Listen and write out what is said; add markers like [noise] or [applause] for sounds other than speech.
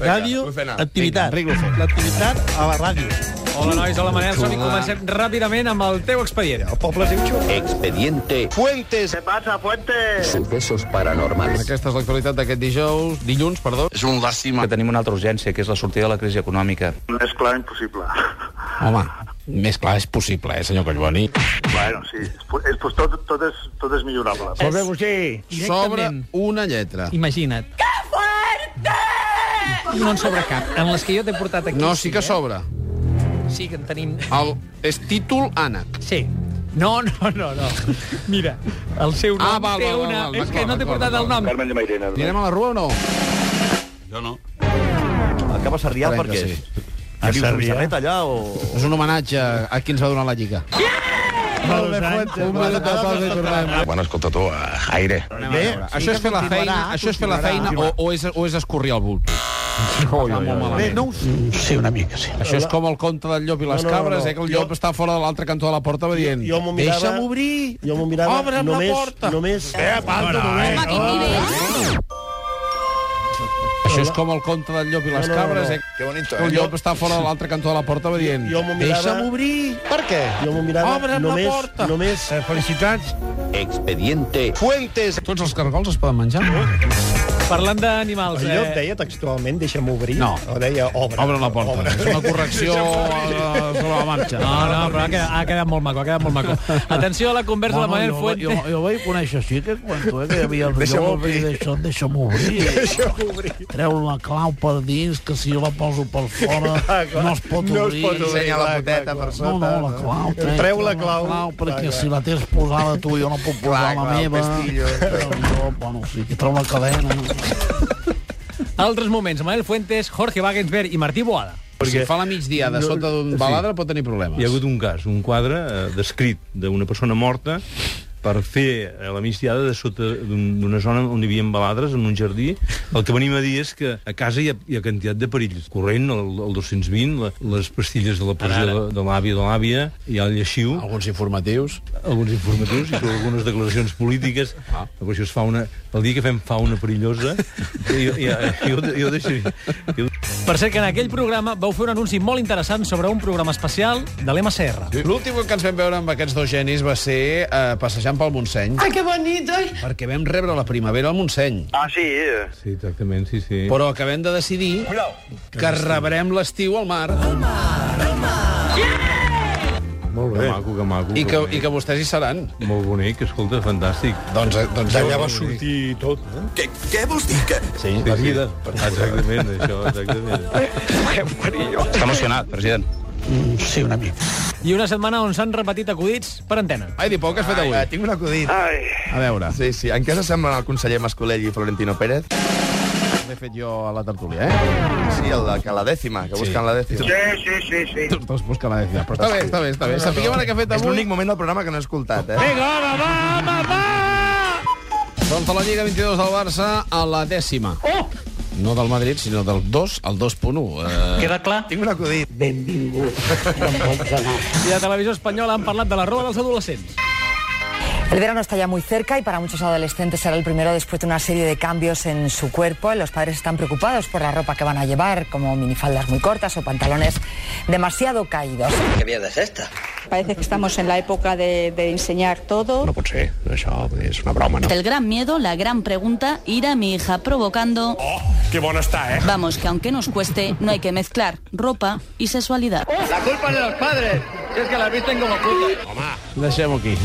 Ràdio, Lucena. activitat. Vinga, Enric Lucena. L'activitat a la ràdio. Hola, nois, hola, Manel. Som i comencem ràpidament amb el teu expedient. El poble es diu Xula. Expediente Fuentes. Sucesos Paranormales. Aquesta és l'actualitat d'aquest dijous, dilluns, perdó. És un llàstima. que tenim una altra urgència, que és la sortida de la crisi econòmica. És clar, impossible. Home, més clar és possible, eh, senyor Collboni? bueno, sí, és, po- és, pues, tot, tot, és, tot és millorable. Sobre una lletra. Imagina't. Que fuerte! No en sobra cap. En les que jo t'he portat aquí... No, sí que eh? sobre. Sí que en tenim... El, és títol ànec. Sí. No, no, no, no. Mira, el seu nom Ah, val, té val, val, una... val, és que d'acord, no t'he d'acord, portat el nom. Carmen de Mairena. Anirem a la rua o no? Jo no. doncs. Acaba Ah, Sarrià Esperem per que què? sí. Que vius un xerret allà o... És un homenatge a qui ens va donar la lliga. Un moment de pausa i tornem. Bueno, escolta tu, a Jaire. Bé, això és fer la feina, això és fer la feina o, o, és, o és escorrir el bulto. Oi, oi, oi, Bé, Eh, Eh, no ho sé. Sí, una mica, sí. Això és com el conte del llop i les No, no, no, cabres, no. eh, que el llop Jo- està fora de l'altre cantó de la porta va dient jo m'ho mirava- deixa'm obrir, Jo m'ho mirava obre'm només, la porta. només... Eh, passa, Home, quin nivell! Això és com el conte del llop i les no, no, cabres, no. eh, Que bonito, que el llop està fora de l'altre cantó de la porta va dient Jo m'ho mirava- deixa'm obrir, per què? Jo m'ho mirava Obre'm la només, porta. només... Eh, felicitats. Expediente Fuentes. Tots els cargols es poden menjar? Parlant d'animals, Allò et eh? deia textualment, deixa'm obrir, No. o deia obre. Obre la porta. Obre. És una correcció eh, sobre la marxa. No, no, però ha quedat, ha quedat molt maco, ha quedat molt maco. Atenció a la conversa de Manel Fuente. jo, jo vaig conèixer així que quan tu eh, que hi havia el Deixa'm llop obrir. i d'això, deixa'm obrir. [laughs] Deixa'm obrir. Treu la clau per dins, que si jo la poso per fora no es pot Ah, No es obrir. pot obrir, Ensenya la clar, poteta clar, clar. per No, sota, no, la no? clau. Treu la clau. clau perquè Clar, clar. si la tens posada tu jo no puc posar la clar, el meva. pestillo. eh. Jo, bueno, sí, que treu la cadena. Altres moments, Manel Fuentes, Jorge Wagensberg i Martí Boada. Si fa la migdiada no, sota d'un baladre pot tenir problemes. Hi ha hagut un cas, un quadre eh, descrit d'una persona morta per fer a la migdiada de sota d'un- d'una zona on hi havia baladres, en un jardí. El que venim a dir és que a casa hi ha, hi ha quantitat de perills. Corrent, el, el 220, la, les pastilles de la pressió de, de l'àvia de l'àvia, hi ha el lleixiu, Alguns informatius. alguns informatius i sobre algunes declaracions polítiques. Ah. Però això es fa una... El dia que fem fa una perillosa, jo, jo, jo, jo deixaria... Jo... Per cert, que en aquell programa vau fer un anunci molt interessant sobre un programa especial de l'MCR. L'últim que ens vam veure amb aquests dos genis va ser eh, passejant pel Montseny. Ai, que bonito! Perquè vam rebre la primavera al Montseny. Ah, sí, eh? Sí, exactament, sí, sí. Però acabem de decidir que rebrem l'estiu al mar Molt bé. Que maco, que maco. i que, bonic. i que vostès hi seran. Molt bonic, escolta, fantàstic. Doncs, eh, doncs D'allà va sortir tot, eh? Què, què vols dir? Que... Sí, sí, sí. Exactament, això, exactament. Està emocionat, president. Sí, una mica. I una setmana on s'han repetit acudits per antena. Ai, di poc, que has fet avui. Tinc un acudit. Ai, A veure, Sí, sí. En què s'assemblen el conseller Mascolell i Florentino Pérez? l'he fet jo a la tertúlia, eh? Sí, el de que la dècima, que busquen la dècima. sí, sí, sí, sí. Tots dos busquen la decisió. Però està bé, està bé, està bé. Sapiguem ara què ha fet És avui. l'únic moment del programa que no he escoltat, eh? Doncs a la Lliga 22 del Barça a la dècima. Oh! No del Madrid, sinó del 2 al 2.1. Eh... Queda clar? Tinc un acudit. I de televisió espanyola han parlat de la roba dels adolescents. El verano está ya muy cerca y para muchos adolescentes será el primero después de una serie de cambios en su cuerpo. Los padres están preocupados por la ropa que van a llevar, como minifaldas muy cortas o pantalones demasiado caídos. ¿Qué mierda es esta? Parece que estamos en la época de, enseñar todo. No pot ser, això és una broma, El gran miedo, la gran pregunta, ir a mi hija provocando... Oh, que bona està, eh? Vamos, que aunque nos cueste, no hay que mezclar ropa y sexualidad. Deixem-ho aquí.